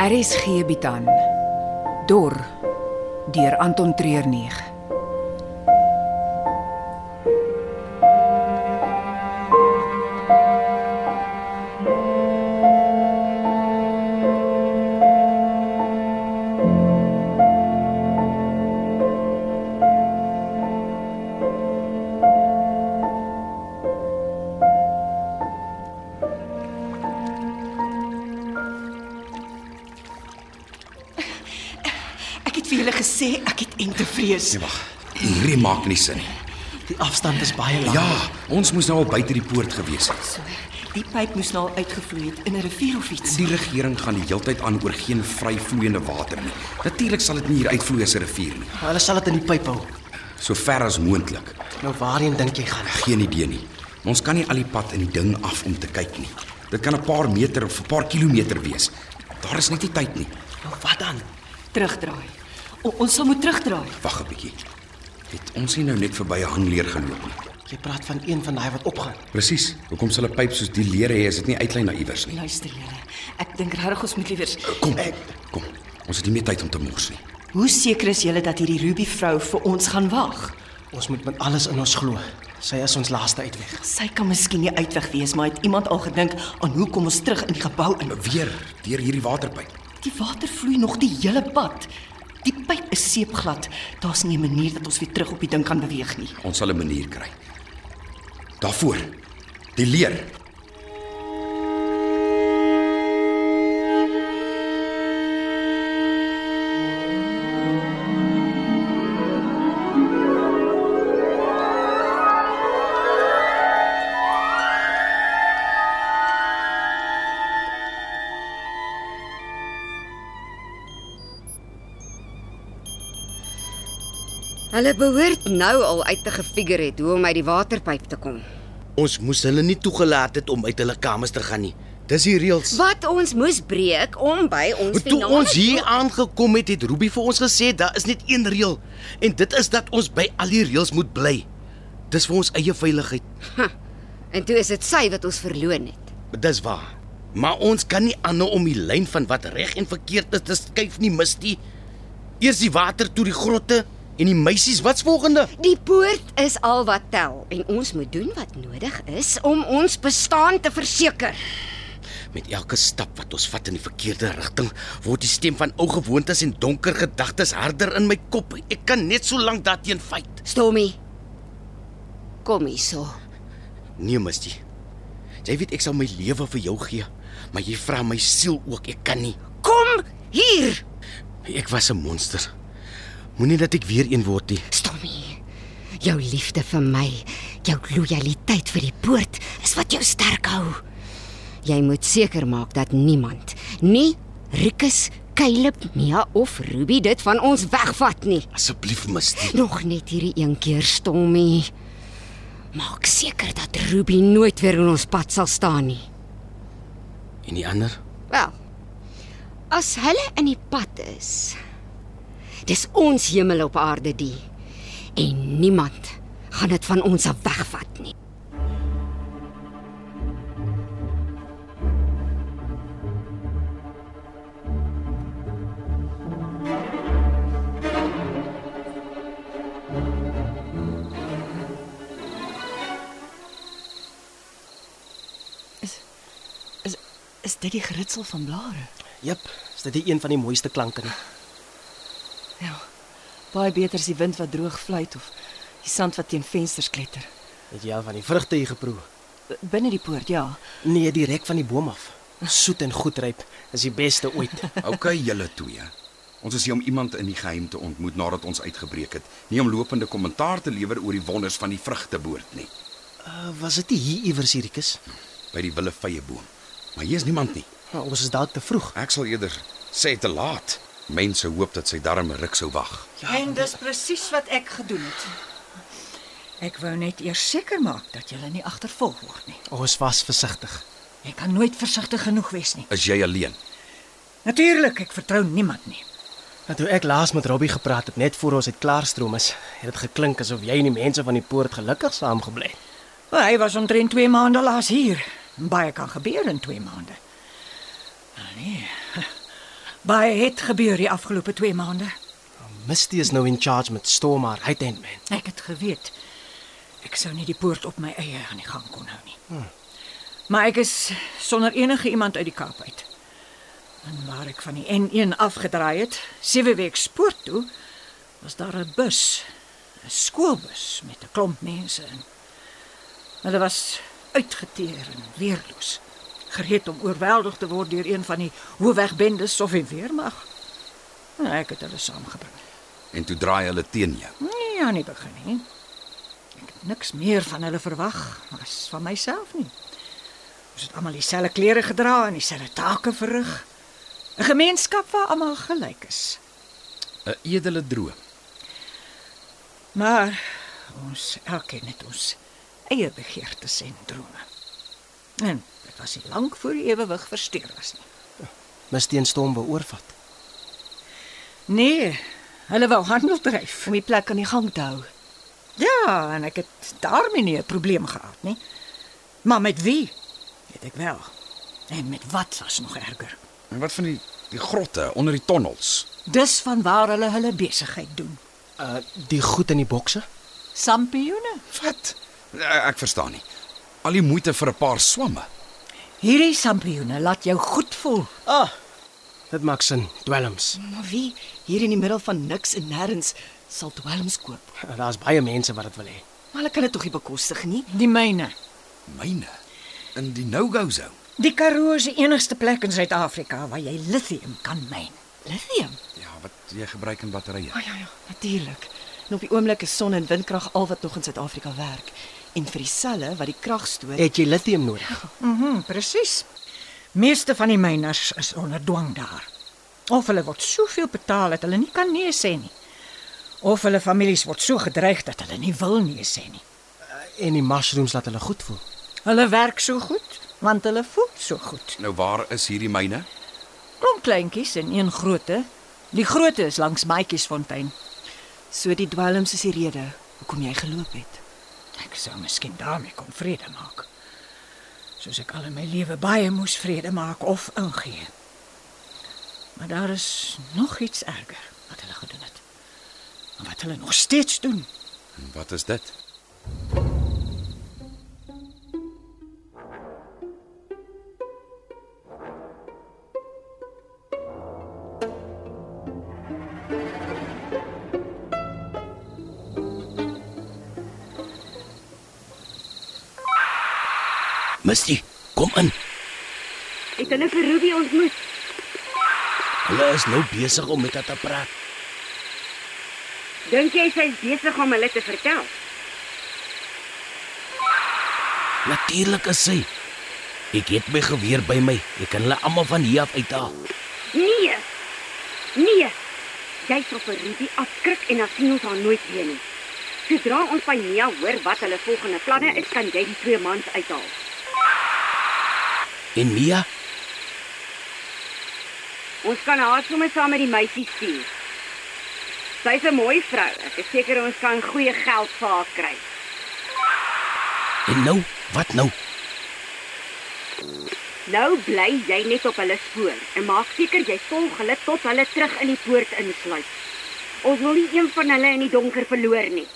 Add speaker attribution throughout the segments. Speaker 1: RSG bied aan Dor deur Anton Treuer 9.
Speaker 2: Ek het vir julle gesê ek het ente vrees.
Speaker 3: Nee, wag. Hierdie maak nie sin nie.
Speaker 4: Die afstand is baie lank.
Speaker 3: Ja, ons moes nou al buite die poort gewees het.
Speaker 2: So, die pyp moes nou al uitgevloei het in 'n rivier of iets.
Speaker 3: Die regering gaan die heeltyd aan oor geen vryvloeiende water nie. Natuurlik sal dit nie hier uitvloei as 'n rivier nie.
Speaker 4: Maar hulle sal dit in die pyp hou.
Speaker 3: So ver as moontlik.
Speaker 4: Nou waarheen dink jy gaan?
Speaker 3: Geen idee nie. Ons kan nie al die pad in die ding af om te kyk nie. Dit kan 'n paar meter of 'n paar kilometer wees. Daar is net nie tyd nie.
Speaker 4: Nou wat dan?
Speaker 2: Terugdraai. O, ons sal moet terugdraai.
Speaker 3: Wag 'n bietjie. Het ons nie nou net verby 'n hangleer geloop nie?
Speaker 4: Jy praat van een van daai wat opgaan.
Speaker 3: Presies. Hoekom sal 'n pyp soos die leer hê as dit nie uitlyn na iewers nie?
Speaker 2: Luister julle. Ek dink regtig ons moet liewers.
Speaker 3: Kom. Kom. Ons het nie meer tyd om te mors nie.
Speaker 2: Hoe seker is julle dat hierdie Ruby vrou vir ons gaan wag?
Speaker 4: Ons moet met alles in ons glo. Sy is ons laaste uitweg.
Speaker 2: Sy kan miskien nie uitweg wees, maar het iemand al gedink aan hoe kom ons terug in die gebou in?
Speaker 3: Weer deur hierdie waterpyp.
Speaker 2: Die water vloei nog die hele pad. Die pyp is seepglad. Daar's nie 'n manier dat ons weer terug op die ding kan beweeg nie.
Speaker 3: Ons sal 'n manier kry. Daarvoor. Die leer.
Speaker 5: Hulle behoort nou al uit te gefigure het hoe om uit die waterpyp te kom.
Speaker 6: Ons moes hulle nie toegelaat het om uit hulle kamers te gaan nie. Dis die reëls.
Speaker 5: Wat ons moes breek om by ons
Speaker 6: Toe ons hier aangekom het, het Ruby vir ons gesê daar is net een reël en dit is dat ons by al die reëls moet bly. Dis vir ons eie veiligheid.
Speaker 5: en toe is dit sy wat ons verloon het.
Speaker 6: Dis waar. Maar ons kan nie aanhou om die lyn van wat reg en verkeerd is te skuif nie, Misty. Eers die water toe die grotte en die meisies, wat's volgende?
Speaker 5: Die poort is al wat tel en ons moet doen wat nodig is om ons bestaan te verseker.
Speaker 6: Met elke stap wat ons vat in die verkeerde rigting, word die stem van ou gewoontes en donker gedagtes harder in my kop. Ek kan net so lank daarteen vyt.
Speaker 5: Stormy. Kom hierso.
Speaker 6: Nee, Misty. Jy weet ek sal my lewe vir jou gee, maar jy vra my siel ook. Ek kan nie.
Speaker 5: Kom hier,
Speaker 6: Ek was 'n monster. Moenie dat ek weer een word nie.
Speaker 5: Stormy. Jou liefde vir my, jou lojaliteit vir die poort is wat jou sterk hou. Jy moet seker maak dat niemand, nie Rikus, Caleb, Mia of Ruby dit van ons wegvat nie.
Speaker 6: Asseblief, Misty.
Speaker 5: Nog net hierdie een keer, Stormy. Maak seker dat Ruby nooit weer in ons pad sal staan nie.
Speaker 6: En die ander?
Speaker 5: Wel. As hulle in die pad is. Dis ons hemel op aarde die. En niemand gaan dit van ons af wegvat nie.
Speaker 2: Is is dit die geritsel van blare?
Speaker 4: Jep, is dit nie een van die mooiste klanke nie?
Speaker 2: Ja. Baie beter as die wind wat droog fluit of die sand wat teen vensters kletter.
Speaker 4: Het jy al van die vrugte hier geproe?
Speaker 2: Binne die poort, ja.
Speaker 4: Nee, direk van die boom af. Soet en goed ryp. Is die beste ooit.
Speaker 3: OK, julle twee. Ons is hier om iemand in die geheim te ontmoet nadat ons uitgebreek het, nie om lopende kommentaar te lewer oor die wonders van die vrugteboord nie
Speaker 4: uh, was dit nie hier iewers hierdikus?
Speaker 3: by die willevyeboom. Maar hier is niemand nie.
Speaker 4: Nou, ons is dalk te vroeg.
Speaker 3: Ek sal eerder sê te laat. Mense hoop dat sy darm ruk sou wag.
Speaker 7: Ja, en dis presies wat ek gedoen het. Ek wou net eers seker maak dat jy nie agtervolg word nie.
Speaker 4: Ons was versigtig.
Speaker 7: Jy kan nooit versigtig genoeg wees nie.
Speaker 3: Is jy alleen?
Speaker 7: Natuurlik, ek vertrou niemand nie.
Speaker 4: Nou toe ek laas met Robbie gepraat het net voor ons uit Klaarstroom is, het dit geklink asof jy en die mense van die poort gelukkig saam gebly het.
Speaker 7: Wel, hy was omtrent 2 maande laas hier. Baie kan gebeur in 2 maande. Nou nee. Ah, Baie het gebeur die afgelope 2 maande.
Speaker 4: Misty is nou in charge met Storm haar right hand man.
Speaker 7: Ek het geweet ek sou nie die poort op my eie aan die gang kon hou nie. Hmm. Maar ek is sonder enige iemand uit die Kaap uit. En waar ek van die N1 afgedraai het, sewe week spoor toe, was daar 'n bus, 'n skoolbus met 'n klomp mense in. Hulle was uitgeteer en weerloos, gereed om oorweldig te word deur een van die hoofwegbendes of die weermag. En ek Nou, het hulle saamgebring.
Speaker 3: En toe draai hulle teen jou.
Speaker 7: Nee, aan die begin nie. Ek het niks meer van hulle verwag as van myself nie. Ons het almal dieselfde klere gedra en dieselfde take verrig. 'n Gemeenskap waar almal gelyk is.
Speaker 3: 'n Edele droom.
Speaker 7: Maar ons elkeen het ons eie begeertes en drome. En dit was nie lank voor die ewewig versteur was nie.
Speaker 4: Misty en Storm beoorvat.
Speaker 7: Nee, hulle wou handel dryf.
Speaker 2: om die plek aan die gang te hou.
Speaker 7: Ja, en ek het daarmee nie 'n probleem gehad nie. Maar met wie? Weet ek wel. En met wat was nog erger.
Speaker 3: En wat van die die grotte onder die tonnels?
Speaker 7: Dis vanwaar hulle hulle besigheid doen.
Speaker 4: Uh die goed in die bokse?
Speaker 7: Sampioene.
Speaker 3: Wat? Eh, Ek verstaan nie. Al die moeite vir 'n paar swamme.
Speaker 7: Hierdie sampioene laat jou goed voel.
Speaker 4: Ah. Dit maak sin, dwelms.
Speaker 2: Maar wie hier in die middel van niks en nêrens sal dwelms koop?
Speaker 4: Daar's Uh, baie mense wat dit wil hê.
Speaker 2: Maar hulle kan dit tog nie bekostig nie.
Speaker 7: Die myne.
Speaker 3: Myne in die no-go zone.
Speaker 7: Die Karoo is die enigste plek in Suid-Afrika waar jy lithium kan myn.
Speaker 2: Lithium.
Speaker 3: Ja, wat jy gebruik in batterye.
Speaker 2: Ja ja, natuurlik. En op die oomblik is son en windkrag al wat nog in Suid-Afrika werk. En vir die selle wat die krag stoor,
Speaker 4: Het jy lithium nodig?
Speaker 7: Mhm, mm presies. Meeste van die myners is onder dwang daar. Of hulle word soveel betaal dat hulle nie kan nee sê nie. Of hulle families word so gedreig dat hulle nie wil nee sê nie.
Speaker 4: En die mushrooms laat hulle goed voel.
Speaker 7: Hulle werk so goed want hulle voel so goed.
Speaker 3: Nou waar is hierdie myne?
Speaker 7: Klomp kleintjies en een grootte. Die grootte is langs Maatjiesfontein.
Speaker 2: so die dwelms is die rede hoekom jy geloop het.
Speaker 7: Ek sou miskien daarmee kon vrede maak. Soos ek al in my lewe baie moes vrede maak of ingee. Maar daar is nog iets erger wat hulle gedoen het. En wat hulle nog steeds doen.
Speaker 3: En wat is dit?
Speaker 6: Misty, kom in.
Speaker 5: Ek het hulle vir Ruby ontmoet.
Speaker 6: Hulle is nou besig om met haar te praat.
Speaker 5: Dink jy sy is besig om hulle te vertel?
Speaker 6: Natuurlik is sy. Ek het my geweer by my. Ek kan hulle almal van hier af uithaal.
Speaker 5: Nee. Nee. Jy sal vir Ruby afskrik en dan sien ons haar nooit weer nie. Sodra ons van Mia hoor wat hulle volgende planne is, kan jy die twee mans uithaal.
Speaker 6: En Mia,
Speaker 5: Ons kan haar sommer saam met die meisie stuur. Sy's 'n mooi vrou. Ek is seker ons kan goeie geld vir haar kry.
Speaker 6: en nou, wat nou?
Speaker 5: Nou bly jy net op hulle spoor en maak seker jy volg hulle tot hulle terug in die poort insluit. Ons wil nie een van hulle in die donker verloor nie.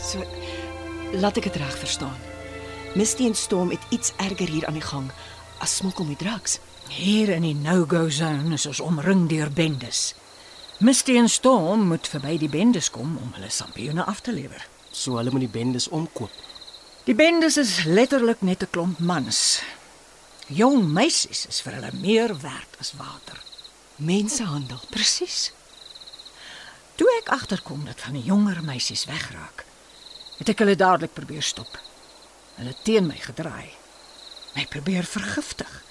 Speaker 2: So laat ek dit reg verstaan. Misty en Storm het iets erger hier aan die gang as smokkel met drugs.
Speaker 7: Hier in die no-go zone is ons omring deur bendes. Misty en Storm moet verby die bendes kom om hulle sampioene af te lewer.
Speaker 4: So hulle moet die bendes omkoop.
Speaker 7: Die bendes is letterlik net 'n klomp mans. Jong meisies is vir hulle meer werd as water.
Speaker 2: Mensehandel.
Speaker 7: Presies. Toe ek agterkom dat van die jonger meisies wegraak, het ek hulle dadelik probeer stop. Hulle teen my gedraai. My probeer vergiftig.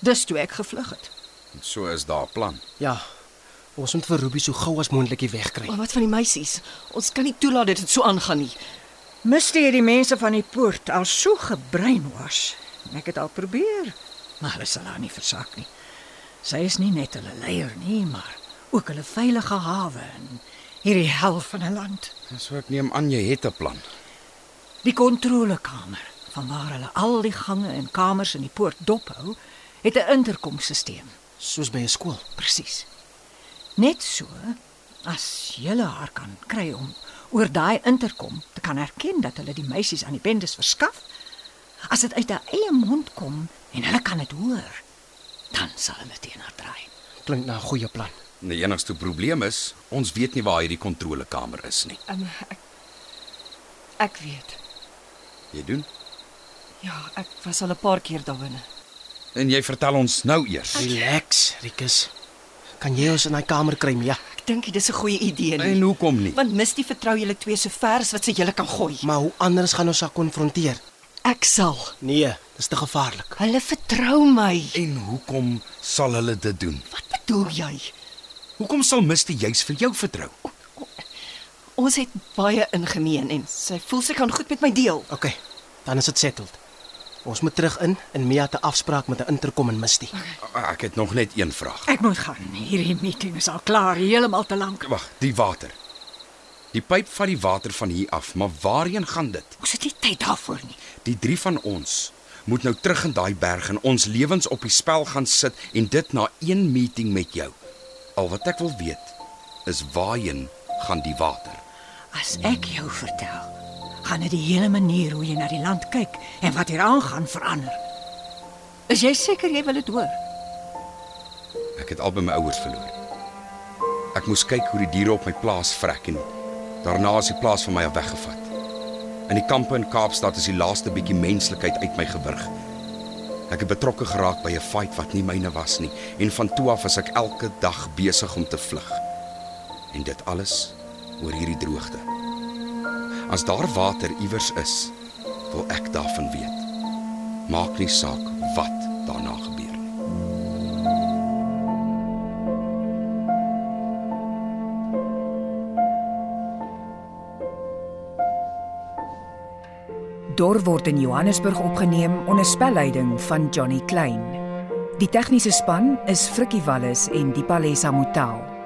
Speaker 7: Dis toe ek gevlug het.
Speaker 3: So is daar 'n plan.
Speaker 4: Ja. Ons moet vir Ruby so gou as moontlik hier wegkry.
Speaker 2: Maar wat van die meisies? Ons kan nie toelaat dat dit so aangaan nie.
Speaker 7: Misty het die mense van die poort al so gebreinwas. En Ek het al probeer, maar hulle sal haar nie versak nie. Sy is nie net hulle leier nie, maar ook hulle veilige hawe in hierdie hel van 'n land.
Speaker 3: So ek neem aan jy het 'n plan.
Speaker 7: Die kontrolekamer, vanwaar hulle al die gange en kamers in die poort dophou, het 'n interkomstelsel.
Speaker 4: Soos by 'n skool.
Speaker 7: Presies. Net so as julle haar kan kry om oor daai interkom te kan erken dat hulle die meisies aan die bendes verskaf, as dit uit haar eie mond kom en hulle kan dit hoor, dan sal hulle teen haar draai.
Speaker 4: Klink na 'n goeie plan.
Speaker 3: Die enigste probleem is, ons weet nie waar hierdie kontrolekamer is nie.
Speaker 2: Um, ek ek weet.
Speaker 3: Jy doen?
Speaker 2: Ja, ek was al 'n paar keer daar binne.
Speaker 3: En jy vertel ons nou eers.
Speaker 4: Relax, Rikus. Kan jy ons in daai kamer kry, Mia?
Speaker 2: Ek dink dit is 'n goeie idee
Speaker 3: En
Speaker 2: nie.
Speaker 3: hoekom nie?
Speaker 2: Want Misty vertrou julle twee so ver as wat sy julle kan gooi.
Speaker 4: Maar hoe anders gaan ons haar konfronteer?
Speaker 2: Ek sal.
Speaker 4: Nee, dis te gevaarlik.
Speaker 2: Hulle vertrou my.
Speaker 3: En hoekom sal hulle dit doen?
Speaker 2: Wat bedoel jy?
Speaker 3: Hoekom sal Misty juis vir jou vertrou?
Speaker 2: Ons het baie ingemeen en sy voel sy kan goed met my deel.
Speaker 4: OK, dan is dit settled. Ons moet terug in en Mia te afspraak met 'n interkom en Misty.
Speaker 3: Ek het nog net een vraag.
Speaker 7: Ek moet gaan. Hierdie meeting is al klaar, heeltemal te lank.
Speaker 3: Wag, die water. Die pyp vat die water van hier af, maar waarheen gaan dit?
Speaker 7: Ons het nie tyd daarvoor nie.
Speaker 3: Die drie van ons moet nou terug in daai berg en ons lewens op die spel gaan sit en dit na een meeting met jou. Al wat ek wil weet is waarheen gaan die water?
Speaker 7: As ek jou vertel, gaan dit die hele manier hoe jy na die land kyk en wat hier aangaan verander. Is jy seker jy wil dit hoor?
Speaker 3: Ek het al by my ouers verloor. Ek moes kyk hoe die diere op my plaas vrek en daarna is die plaas van my af weggevat. In die kampe in Kaapstad is die laaste bietjie menslikheid uit my gewurg. Ek het betrokke geraak by 'n fight wat nie myne was nie en van toe af is ek elke dag besig om te vlug. En dit alles oor hierdie droogte. As daar water iewers is, wil ek daarvan weet. Maak nie saak wat daarna gebeur nie.
Speaker 1: Dor word in Johannesburg opgeneem onder spelleiding van Johnny Klein. Die tegniese span is Frikkie Wallis en Dipalesa Motelo.